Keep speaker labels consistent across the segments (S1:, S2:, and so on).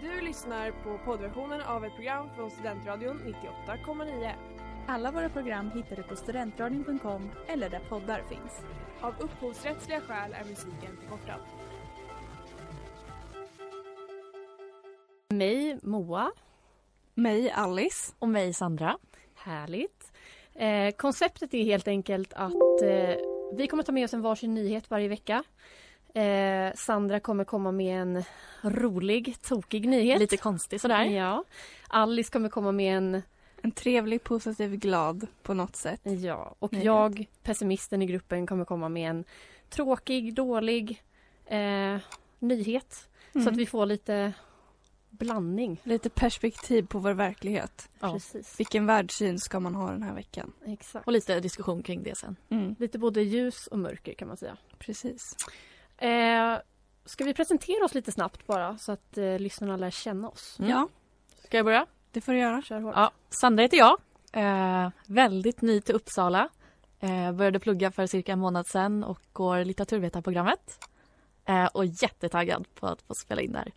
S1: Du lyssnar på poddversionen av ett program från Studentradion 98,9.
S2: Alla våra program hittar du på studentradion.com eller där poddar finns.
S1: Av upphovsrättsliga skäl är musiken förkortad.
S3: Mig, Moa.
S4: Mig, Alice.
S5: Och mig, Sandra.
S3: Härligt. Eh, konceptet är helt enkelt att eh, vi kommer ta med oss en varsin nyhet varje vecka. Eh, Sandra kommer komma med en rolig, tokig nyhet.
S5: Lite konstig sådär.
S3: Ja. Alice kommer komma med en...
S4: En trevlig, positiv, glad på något sätt.
S3: Ja, och nyhet. jag, pessimisten i gruppen, kommer komma med en tråkig, dålig eh, nyhet. Mm. Så att vi får lite blandning.
S4: Lite perspektiv på vår verklighet.
S3: Ja. Precis.
S4: Vilken världssyn ska man ha den här veckan?
S3: Exakt.
S5: Och lite diskussion kring det sen.
S3: Mm. Lite både ljus och mörker kan man säga.
S4: Precis.
S3: Eh, ska vi presentera oss lite snabbt bara så att eh, lyssnarna lär känna oss?
S4: Mm. Ja.
S5: Ska jag börja?
S4: Det får du göra.
S3: Kör hårt.
S5: Ja, Sandra heter jag. Eh, väldigt ny till Uppsala. Eh, började plugga för cirka en månad sedan och går litteraturvetarprogrammet. Eh, och jättetaggad på att få spela in där.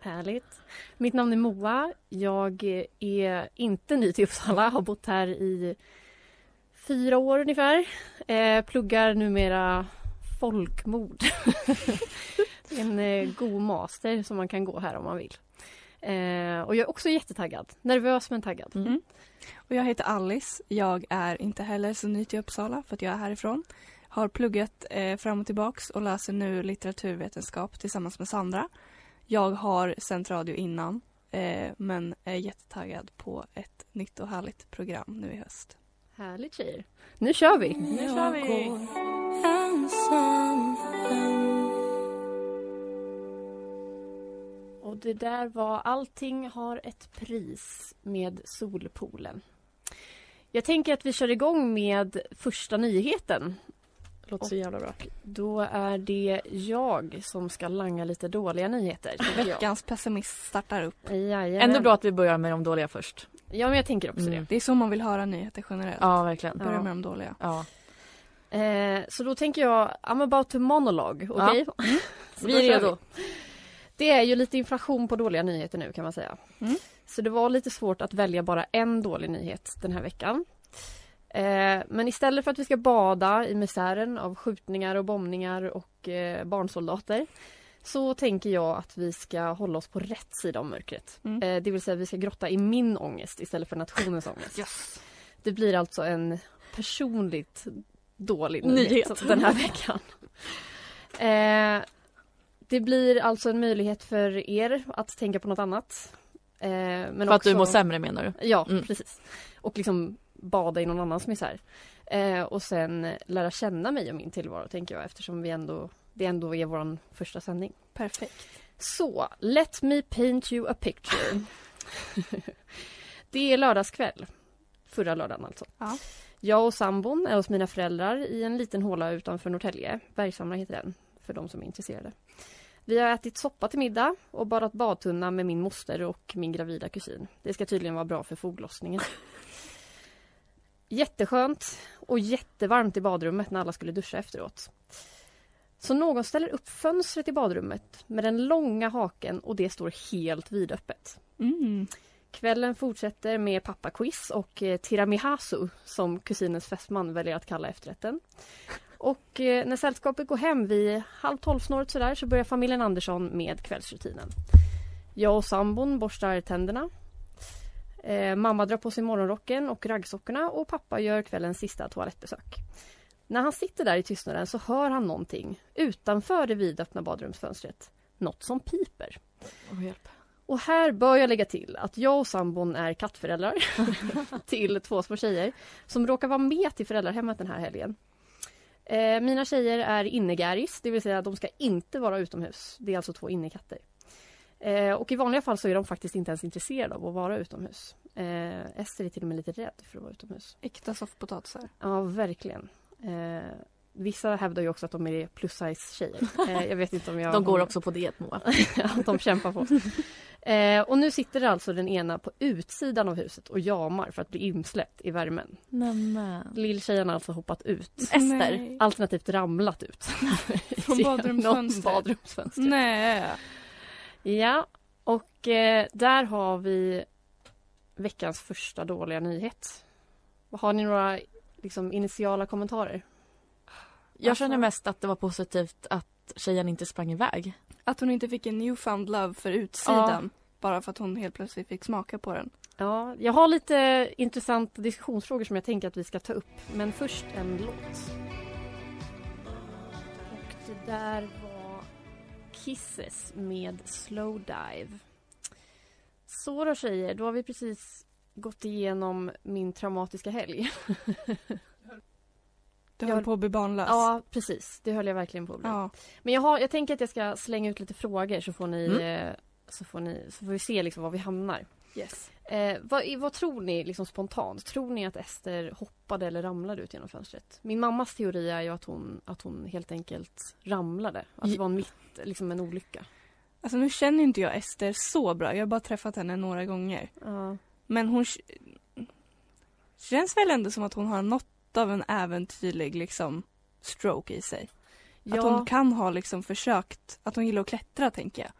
S3: Härligt. Mitt namn är Moa. Jag är inte ny till Uppsala, har bott här i fyra år ungefär. Eh, pluggar numera folkmord. en eh, god master som man kan gå här om man vill. Eh, och jag är också jättetaggad. Nervös men taggad. Mm.
S4: Och jag heter Alice. Jag är inte heller så ny till Uppsala för att jag är härifrån. Har pluggat eh, fram och tillbaks och läser nu litteraturvetenskap tillsammans med Sandra. Jag har sänt radio innan eh, men är jättetaggad på ett nytt och härligt program nu i höst.
S3: Härligt tjejer. Nu kör vi!
S4: Nu jag kör vi!
S3: Och det där var Allting har ett pris med Solpolen. Jag tänker att vi kör igång med första nyheten
S5: låter så jävla bra.
S3: Då är det jag som ska langa lite dåliga nyheter.
S4: Veckans pessimist startar upp.
S3: Jajamän.
S5: Ändå bra att vi börjar med de dåliga först.
S3: Ja, men jag tänker också mm. det.
S4: Det är så man vill höra nyheter generellt.
S5: Ja, verkligen.
S4: Börja
S5: ja.
S4: med de dåliga.
S5: Ja.
S3: Eh, så då tänker jag, I'm about to monologue, okej? Okay? Ja. Mm.
S5: vi är redo. Vi.
S3: Det är ju lite inflation på dåliga nyheter nu kan man säga. Mm. Så det var lite svårt att välja bara en dålig nyhet den här veckan. Eh, men istället för att vi ska bada i misären av skjutningar och bombningar och eh, barnsoldater så tänker jag att vi ska hålla oss på rätt sida om mörkret. Mm. Eh, det vill säga vi ska grotta i min ångest istället för nationens ångest.
S4: Yes.
S3: Det blir alltså en personligt dålig
S5: nyhet, nyhet.
S3: den här veckan. Eh, det blir alltså en möjlighet för er att tänka på något annat. Eh,
S5: men för också... att du mår sämre menar du?
S3: Ja, mm. precis. Och liksom bada i någon annans misär. Eh, och sen lära känna mig och min tillvaro tänker jag eftersom vi ändå, det ändå är vår första sändning.
S4: Perfekt.
S3: Så, let me paint you a picture. det är lördagskväll. Förra lördagen alltså.
S4: Ja.
S3: Jag och sambon är hos mina föräldrar i en liten håla utanför Norrtälje. Bergshamra heter den, för de som är intresserade. Vi har ätit soppa till middag och badat badtunna med min moster och min gravida kusin. Det ska tydligen vara bra för foglossningen. Jätteskönt och jättevarmt i badrummet när alla skulle duscha efteråt. Så någon ställer upp fönstret i badrummet med den långa haken och det står helt vidöppet.
S4: Mm.
S3: Kvällen fortsätter med pappaquiz och eh, tiramisu som kusinens fästman väljer att kalla efterrätten. Och eh, när sällskapet går hem vid halv tolv-snåret sådär så börjar familjen Andersson med kvällsrutinen. Jag och sambon borstar tänderna, Eh, mamma drar på sig morgonrocken och raggsockorna och pappa gör kvällens sista toalettbesök. När han sitter där i tystnaden så hör han någonting utanför det vidöppna badrumsfönstret. Något som piper.
S5: Oh, hjälp.
S3: Och här bör jag lägga till att jag och sambon är kattföräldrar till två små tjejer som råkar vara med till föräldrahemmet den här helgen. Eh, mina tjejer är innegäris, det vill säga de ska inte vara utomhus. Det är alltså två innekatter. Eh, och i vanliga fall så är de faktiskt inte ens intresserade av att vara utomhus. Eh, Ester är till och med lite rädd för att vara utomhus.
S4: Äkta soffpotatisar.
S3: Ja, verkligen. Eh, vissa hävdar ju också att de är plus size-tjejer. Eh, jag vet inte om jag...
S5: de går också på diet, Moa.
S3: ja, de kämpar på. och nu sitter alltså den ena på utsidan av huset och jamar för att bli insläppt i värmen.
S5: Nämen.
S3: Lilltjejen har alltså hoppat ut.
S5: Ester?
S3: Alternativt ramlat ut.
S4: Från badrumsfönstret?
S3: badrumsfönstret.
S4: Nej.
S3: Ja, Och eh, där har vi veckans första dåliga nyhet. Har ni några liksom, initiala kommentarer?
S5: Jag
S4: Alltså-
S5: känner mest att det var positivt att tjejen inte sprang iväg.
S4: Att hon inte fick en newfound love för utsidan. Bara för att hon helt plötsligt fick smaka på den.
S3: Ja, jag har lite intressanta diskussionsfrågor som jag tänker att vi ska ta upp. Men först en låt. Och det där var Kisses med Slow Dive. Så då tjejer, då har vi precis gått igenom min traumatiska helg.
S4: Det
S3: Jag-
S4: höll på att bli barnlös.
S3: Ja, precis. Det höll jag verkligen på att bli.
S4: Ja.
S3: Men jag, har, jag tänker att jag ska slänga ut lite frågor så får ni, eh, så får, ni så får vi se liksom var vi hamnar.
S4: Yes.
S3: Eh, vad, i- vad tror ni liksom spontant? Tror ni att Ester hoppade eller ramlade ut genom fönstret? Min mammas teori är ju att hon, att hon helt enkelt ramlade. Att det var en mitt, liksom en olycka.
S4: Alltså nu känner inte jag Ester så bra. Jag har bara träffat henne några gånger.
S3: Ja.
S4: Men hon k- känns väl ändå som att hon har något av en äventyrlig liksom stroke i sig. Att hon kan ha liksom försökt, att hon gillar att klättra tänker jag.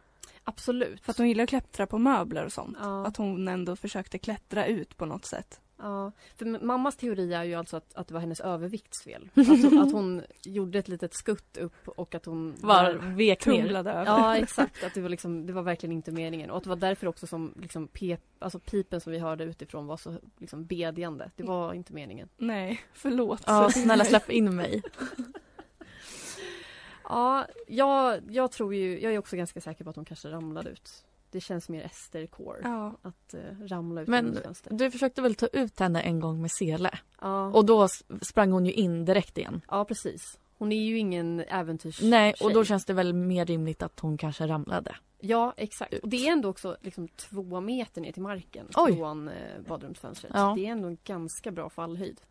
S3: absolut.
S4: För att hon gillar att klättra på möbler och sånt.
S3: Ja.
S4: Att hon ändå försökte klättra ut på något sätt.
S3: Ja, för m- mammas teori är ju alltså att, att det var hennes övervikts fel. Att, hon- att hon gjorde ett litet skutt upp och att hon
S5: Var vek ner.
S4: Tumlade över.
S3: Ja exakt, att det, var liksom, det var verkligen inte meningen. Och att det var därför också som liksom, pep, alltså pipen som vi hörde utifrån var så liksom, bedjande.
S4: Mm.
S3: Det var inte meningen.
S4: Nej, förlåt.
S5: Ja, snälla släpp in mig.
S3: Ja, jag, jag tror ju, jag är också ganska säker på att hon kanske ramlade ut. Det känns mer Ester Core
S4: Ja.
S3: att eh, ramla ut
S5: Men-
S3: genom ett fönster.
S5: Du försökte väl ta ut henne en gång med sele?
S3: Ja.
S5: Och då s- sprang hon ju in direkt igen.
S3: ja, precis. Hon är ju ingen äventyrstjej.
S5: Nej, och då känns det väl mer rimligt att hon kanske ramlade.
S3: Ja, exakt.
S5: Ut.
S3: Och det är ändå också liksom två meter ner till marken
S5: Oj.
S3: från eh, badrumsfönstret.
S5: Ja.
S3: Det är ändå en ganska bra fallhöjd.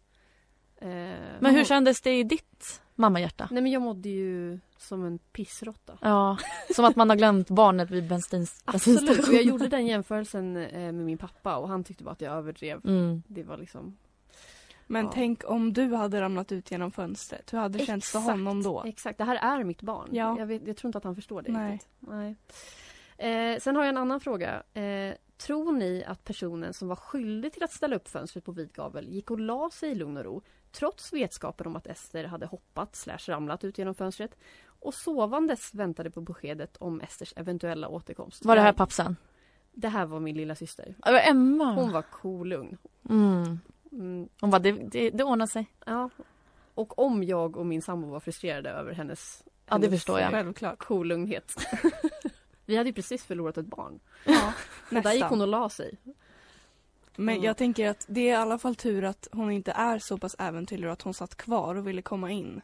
S3: Eh,
S5: Men hur
S3: hon-
S5: kändes det i ditt mammahjärta?
S3: Nej men jag mådde ju som en pissrotta.
S5: Ja, som att man har glömt barnet vid bensins,
S3: Absolut, och
S5: bensinstationen.
S3: jag gjorde den jämförelsen eh, med min pappa och han tyckte bara att jag överdrev.
S5: Mm.
S3: Det var liksom...
S4: Men
S3: Ja.
S4: tänk om du hade ramlat ut genom fönstret. Hur hade det känts för
S3: Exakt.
S4: honom då?
S3: Exakt, det här är mitt barn.
S4: Ja.
S3: Jag, vet, jag tror inte att han förstår det
S4: Nej.
S3: riktigt. Nej. Eh, sen har jag en annan fråga. Eh, tror ni att personen som var skyldig till att ställa upp fönstret på vid gavel gick och la sig i lugn och ro trots vetskapen om att Ester hade hoppat slash ramlat ut genom fönstret och sovandes väntade på beskedet om Esters eventuella återkomst?
S5: Var det här
S3: Nej,
S5: pappsan?
S3: det här var min lilla syster.
S5: Ja, det var Emma.
S3: Hon var kolugn.
S5: Mm.
S3: Mm,
S5: Hon bara, det, det, det ordnar sig.
S3: ja. Och om jag och min sambo var frustrerade över hennes,
S5: Ja, det
S3: hennes
S5: förstår jag.
S4: Självklart.
S3: kolugnhet. Vi hade ju precis förlorat ett barn.
S4: Ja,
S3: Och Där gick
S4: nästan.
S3: hon och la sig.
S4: Men
S3: Mm.
S4: jag tänker att det är i alla fall tur att hon inte är så pass äventyrlig att hon satt kvar och ville komma in.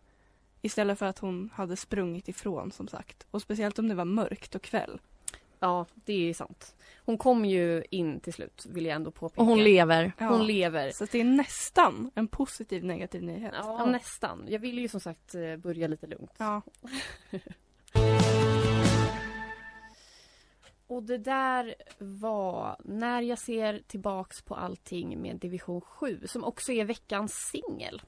S4: Istället för att hon hade sprungit ifrån som sagt. Och speciellt om det var mörkt och kväll.
S3: Ja, det är sant. Hon kom ju in till slut, vill jag ändå påpeka.
S5: Och hon lever.
S4: Ja.
S3: Hon lever.
S4: Så att det är nästan en positiv negativ nyhet.
S3: Ja, nästan. Jag ville ju som sagt eh, börja lite lugnt.
S4: Ja.
S3: Och det där var När jag ser tillbaks på allting med Division 7 som också är veckans singel.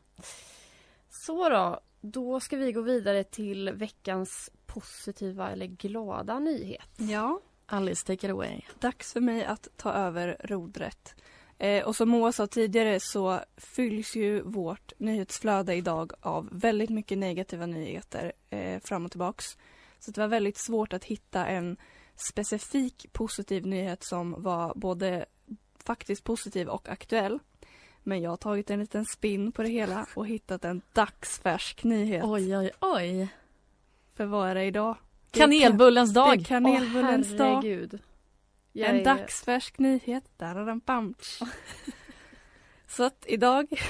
S3: Så då, då ska vi gå vidare till veckans positiva eller glada nyhet.
S4: ja.
S5: Alice, take it away.
S4: Dags för mig att ta över rodret. Eh, och som Moa sa tidigare så fylls ju vårt nyhetsflöde idag av väldigt mycket negativa nyheter eh, fram och tillbaks. Så det var väldigt svårt att hitta en specifik positiv nyhet som var både faktiskt positiv och aktuell. Men jag har tagit en liten spin på det hela och hittat en dagsfärsk nyhet.
S5: Oj, oj, oj.
S4: För vad är det idag? Det är kan-
S5: Kanelbullens
S4: Det
S5: dag.
S4: är kanelbullens dag.
S3: Herregud. Jag
S4: En
S3: är-
S4: dagsfärsk nyhet. Där har den bamts. så att idag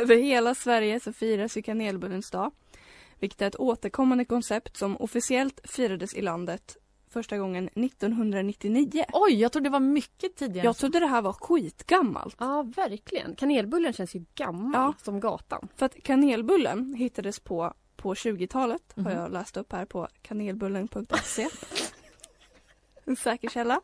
S4: över hela Sverige så firas ju kanelbullens dag. Vilket är ett återkommande koncept som officiellt firades i landet första gången 1999.
S5: Oj, jag trodde det var mycket tidigare.
S4: Jag trodde det här var skitgammalt.
S3: Ja, verkligen. Kanelbullen känns ju gammal
S4: Ja.
S3: som gatan.
S4: För att kanelbullen hittades på på 20-talet
S5: Mhm.
S4: har jag läst upp här på kanelbullen.se. en säker källa.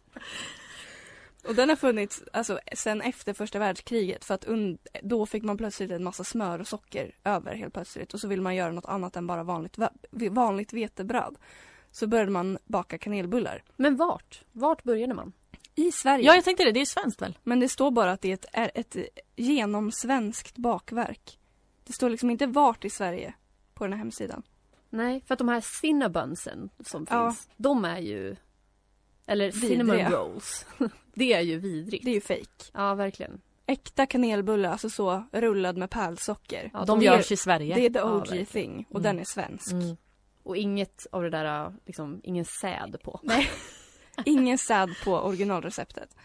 S4: Och den har funnits alltså, sen efter första världskriget för att und- då fick man plötsligt en massa smör och socker över helt plötsligt och så vill man göra något annat än bara vanligt, va- vanligt vetebröd. så började man baka kanelbullar.
S3: Men vart? Vart började man?
S4: I Sverige.
S5: Ja, jag tänkte det. Det är ju svenskt väl?
S4: Men det står bara att det är ett, är ett genomsvenskt bakverk. Det står liksom inte vart i Sverige på den här hemsidan.
S3: Nej, för att de här cinnabunsen som
S4: Ja.
S3: finns, de är ju... Eller
S4: Vidriga.
S3: cinnamon rolls. det är ju vidrigt.
S4: Det är ju fejk.
S3: Ja, verkligen.
S4: Äkta kanelbulle, alltså så rullad med pärlsocker.
S3: Ja,
S5: de
S3: det-
S5: görs i Sverige.
S4: Det är the
S3: Ja,
S4: OG
S3: verkligen.
S4: thing och
S5: Mm.
S4: den är svensk.
S5: Mm.
S3: Och inget av det där, liksom, ingen säd på.
S4: Ingen säd på originalreceptet.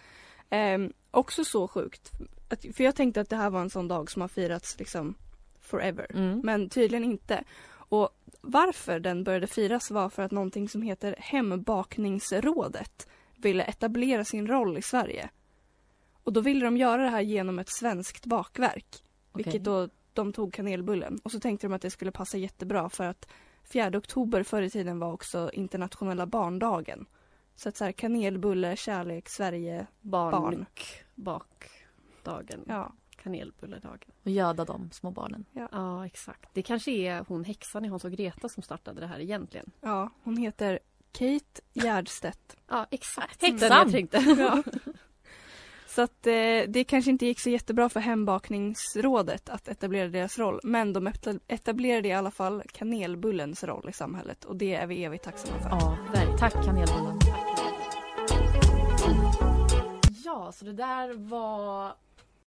S4: Ehm, också så sjukt. Att, för jag tänkte att det här var en sån dag som har firats liksom forever.
S5: Mm.
S4: Men tydligen inte. Och varför den började firas var för att någonting som heter Hembakningsrådet ville etablera sin roll i Sverige. Och då ville de göra det här genom ett svenskt bakverk. Vilket då de tog kanelbullen. Och så tänkte de att det skulle passa jättebra för att 4 oktober förr i tiden var också internationella barndagen. Så att så här kanelbulle, kärlek, Sverige. barn.
S3: Barnbakdagen.
S4: Ja.
S3: Kanelbulledagen.
S5: Och göda de små barnen.
S3: Ja, exakt. Det kanske är hon häxan i Hans och Greta som startade det här egentligen.
S4: ja. Hon heter Kate Gärdstedt.
S3: Ja, exakt.
S5: Häxan!
S3: Den jag tänkte.
S4: Ja. Så att eh, det kanske inte gick så jättebra för Hembakningsrådet att etablera deras roll. Men de etab- etablerade i alla fall kanelbullens roll i samhället. Och det är vi evigt tacksamma för.
S5: Ja, verkligen. Tack kanelbullen. Ja, så det där var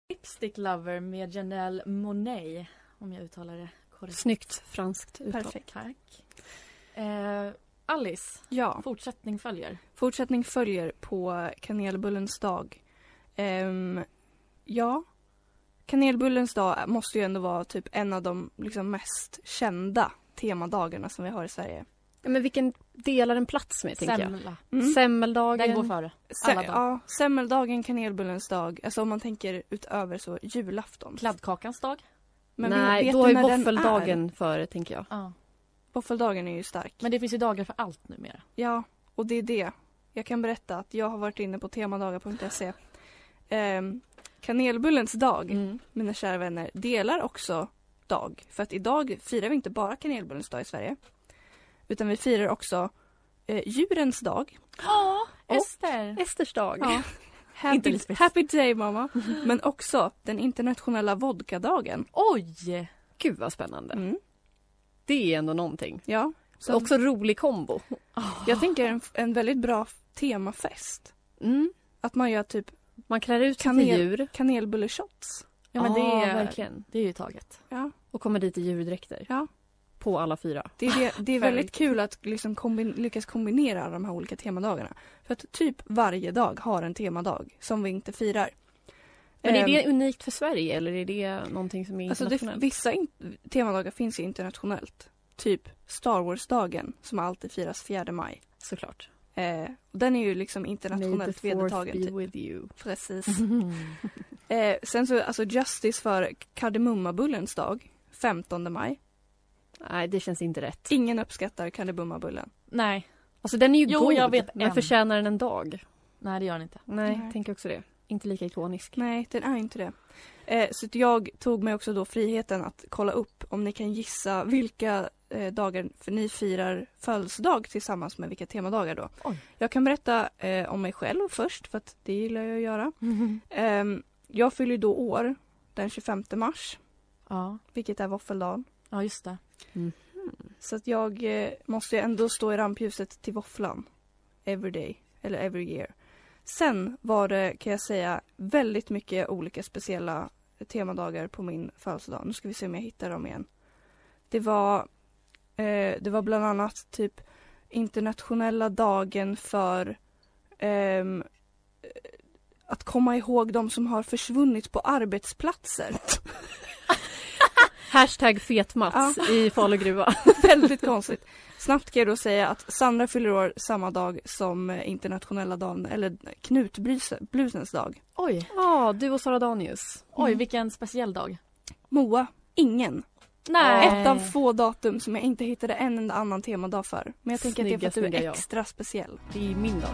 S5: Lipstick Lover med Janelle Monet. Om jag uttalar det korrekt.
S3: Snyggt franskt uttal.
S4: Perfekt.
S5: Tack. Eh, Alice,
S4: Ja.
S5: fortsättning följer.
S4: Fortsättning följer på kanelbullens dag. Ehm, ja, kanelbullens dag måste ju ändå vara typ en av de liksom mest kända temadagarna som vi har i Sverige.
S3: Ja, men vilken delar en plats med, tänker jag.
S5: Semla.
S4: Mm.
S3: Semmeldagen.
S5: Den går före.
S4: Se-
S5: alla dagar.
S4: ja, semmeldagen, kanelbullens dag, alltså om man tänker utöver så julafton.
S5: Kladdkakans dag.
S4: Men
S3: Nej,
S4: vet
S3: då
S4: du
S3: är
S4: när den är?
S3: våffeldagen före, tänker jag.
S5: Ja.
S4: Våffeldagen är ju stark.
S5: Men det finns ju dagar för allt numera.
S4: Ja, och det är det. Jag kan berätta att jag har varit inne på temadagar.se. Ehm, kanelbullens dag
S5: Mm.
S4: mina kära vänner, delar också dag. För att idag firar vi inte bara kanelbullens dag i Sverige. Utan vi firar också eh, djurens dag.
S5: Ja,
S4: Och-
S5: Ester.
S3: Esters dag.
S4: Ja.
S5: Inte
S4: Happy,
S5: Lisbeth.
S4: happy day mamma. Men också den internationella vodkadagen.
S5: Oj!
S3: Gud vad spännande.
S4: Mm.
S3: Det är ändå någonting.
S4: Ja,
S3: Så. Också rolig kombo.
S4: jag tänker en, en väldigt bra f- temafest.
S3: Mm.
S4: Att man gör typ
S3: Man klär ut sig
S4: Kanel.
S3: till djur.
S4: kanelbulleshots.
S5: Ja, men det, är,
S3: verkligen.
S5: det är ju taget.
S4: Ja,
S3: Och kommer dit i djurdräkter.
S4: Ja.
S3: På alla fyra.
S4: det är, det, det är väldigt kul att liksom kombin- lyckas kombinera alla de här olika temadagarna. För att typ varje dag har en temadag som vi inte firar.
S3: Men är
S4: Ehm,
S3: det unikt för Sverige eller är det någonting som är
S4: Alltså
S3: internationellt?
S4: det, vissa in- temadagar finns ju internationellt. Typ Star Wars-dagen som alltid firas 4 maj.
S3: Såklart.
S4: Eh, och den är ju liksom
S3: May
S4: internationellt
S3: the fourth
S4: vedertagen.
S3: be Mhm.
S4: Typ.
S3: with you.
S4: Precis. Eh, sen så alltså Justice för kardemummabullens dag, 15 maj.
S3: Nej, det känns inte rätt.
S4: Ingen uppskattar kardemummabullen.
S5: Nej,
S3: Alltså den är ju
S5: Jo,
S3: god,
S5: jag vet
S3: men
S5: en.
S3: förtjänar den en dag?
S5: nej det gör den inte.
S3: Nej,
S4: Nej.
S3: tänker också det. Inte lika ikonisk.
S4: Nej, den är inte det. Eh, så att jag tog mig också då friheten att kolla upp om ni kan gissa vilka eh, dagar för ni firar födelsedag tillsammans med vilka temadagar då.
S5: Oj.
S4: Jag kan berätta eh, om mig själv först för att det gillar jag att göra. Ehm, jag fyller ju då år den 25 mars,
S5: Ja.
S4: vilket är våffeldagen.
S5: ja, just det.
S4: Så att jag eh, måste ju ändå stå i rampljuset till våfflan. Every day, eller every year. Sen var det, kan jag säga, väldigt mycket olika speciella temadagar på min födelsedag. Nu ska vi se om jag hittar dem igen. Det var, eh, det var bland annat typ internationella dagen för ehm, eh, att komma ihåg de som har försvunnit på arbetsplatser.
S3: Hashtag fetmats i Falugruva.
S4: Väldigt konstigt. Snabbt kan jag då säga att Sandra fyller år samma dag som eh, internationella dagen, eller knutblusens dag.
S5: Oj, Mm.
S3: Ja, du och Sara Danius.
S5: oj vilken speciell dag.
S4: Moa, ingen.
S5: Nej.
S4: Ett av få datum som jag inte hittade en enda annan temadag för. Men jag tänker att det är
S3: Snygga,
S4: för att du
S3: snygga
S4: är
S3: jag.
S4: extra speciell.
S3: Det är min dag.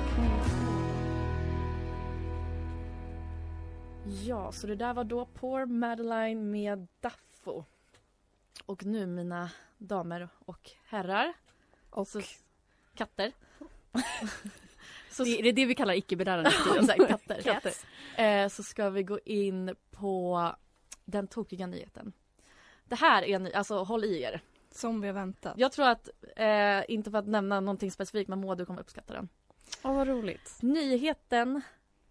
S5: Ja, så det där var då Poor Madeline med Daffo. Och nu mina damer och herrar.
S3: Och
S5: Så-
S3: Katter. Så det, det är det vi kallar icke-binära nu för tiden, katter.
S5: alltså, Katter. Eh, så ska vi gå in på den tokiga nyheten. Det här är ny, alltså håll i er.
S4: Som vi har väntat.
S5: Jag tror att, eh, inte för att nämna någonting specifikt, men Moa du kommer uppskatta den.
S3: Åh vad roligt.
S5: Nyheten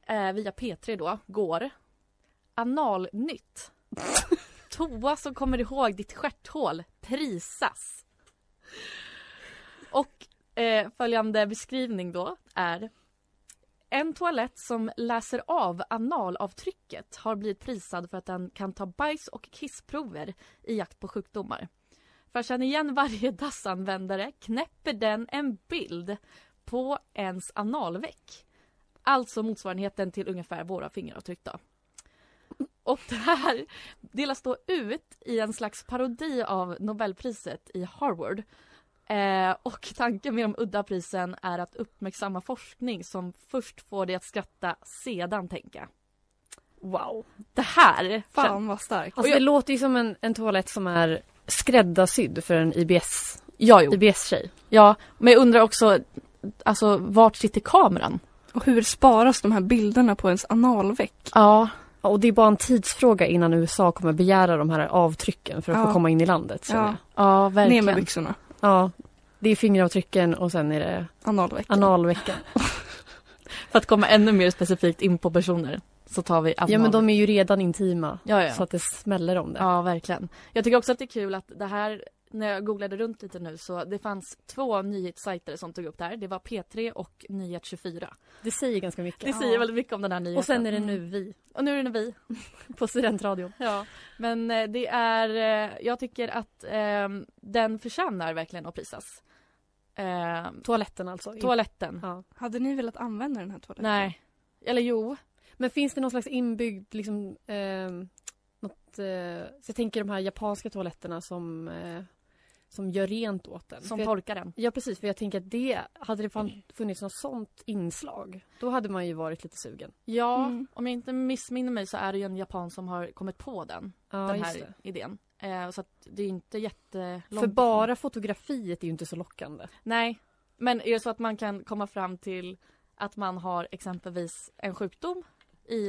S5: eh, via P3 då går Analnytt. Toa som kommer ihåg ditt stjärthål prisas. Och eh, följande beskrivning då är En toalett som läser av analavtrycket har blivit prisad för att den kan ta bajs och kissprover i jakt på sjukdomar. För att känna igen varje dassanvändare knäpper den en bild på ens analveck. Alltså motsvarigheten till ungefär våra fingeravtryck då. Och det här delas då ut i en slags parodi av Nobelpriset i Harvard. Eh, och tanken med de udda prisen är att uppmärksamma forskning som först får dig att skratta, sedan tänka.
S3: Wow.
S5: Det här!
S4: Fan vad starkt.
S3: Alltså,
S5: jag-
S3: Det låter ju som en, en toalett som är skräddarsydd för en IBS,
S5: Ja, jo.
S3: IBS-tjej.
S5: ja, men jag undrar också, alltså vart sitter kameran?
S4: Och hur sparas de här bilderna på ens analveck?
S5: Ja,
S3: Ja, och det är bara en tidsfråga innan USA kommer begära de här avtrycken för att
S4: Ja.
S3: få komma in i landet. känner
S4: Ja.
S3: jag.
S5: ja
S4: Ner med
S5: verkligen.
S4: byxorna.
S3: ja. Det är fingeravtrycken och sen är det
S4: Analveck.
S3: analveckan.
S5: För att komma ännu mer specifikt in på personer så tar vi
S3: Ja men
S5: analnytt.
S3: de är ju redan intima.
S5: Ja, ja.
S3: Så att det smäller om det.
S5: ja, verkligen. Jag tycker också att det är kul att det här, när jag googlade runt lite nu så det fanns två nyhetssajter som tog upp det här. Det var P3 och Nyhet24.
S3: Det säger ganska mycket.
S5: Det säger väldigt mycket om den här nyheten. Mm.
S3: Och sen är det nu vi
S5: och nu är det vi.
S3: på studentradion.
S5: Ja. Men eh, det är, eh, jag tycker att eh, den förtjänar verkligen att prisas. Eh,
S3: Toaletten alltså.
S5: toaletten.
S3: ja.
S4: Hade ni velat använda den här toaletten?
S5: Nej. Eller jo.
S3: Men finns det någon slags inbyggd liksom ehm, något, eh, så jag tänker de här japanska toaletterna som, eh, som gör rent åt en.
S5: Som
S3: För jag-
S5: torkar den.
S3: Ja precis, för jag tänker att det, hade det fan funnits något sånt inslag, då hade man ju varit lite sugen.
S5: Ja,
S4: Mm.
S5: om jag inte missminner mig så är det ju en japan som har kommit på den.
S3: Ja,
S5: den här idén. Eh, så att det är inte jättelångt
S3: För
S5: ifrån.
S3: bara fotografiet är ju inte så lockande.
S5: Nej, men är det så att man kan komma fram till att man har exempelvis en sjukdom i...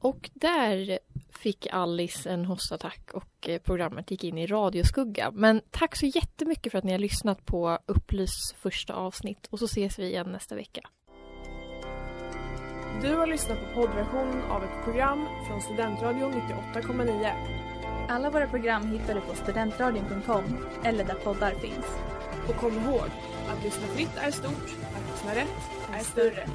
S6: Och där fick Alice en hostattack och eh, programmet gick in i radioskugga. Men tack så jättemycket för att ni har lyssnat på Upplys första avsnitt och så ses vi igen nästa vecka.
S1: Du har lyssnat på poddversionen av ett program från Studentradion 98,9.
S2: Alla våra program hittar du på studentradion.com eller där poddar finns.
S1: Och kom ihåg, att lyssna fritt är stort, att lyssna rätt är större.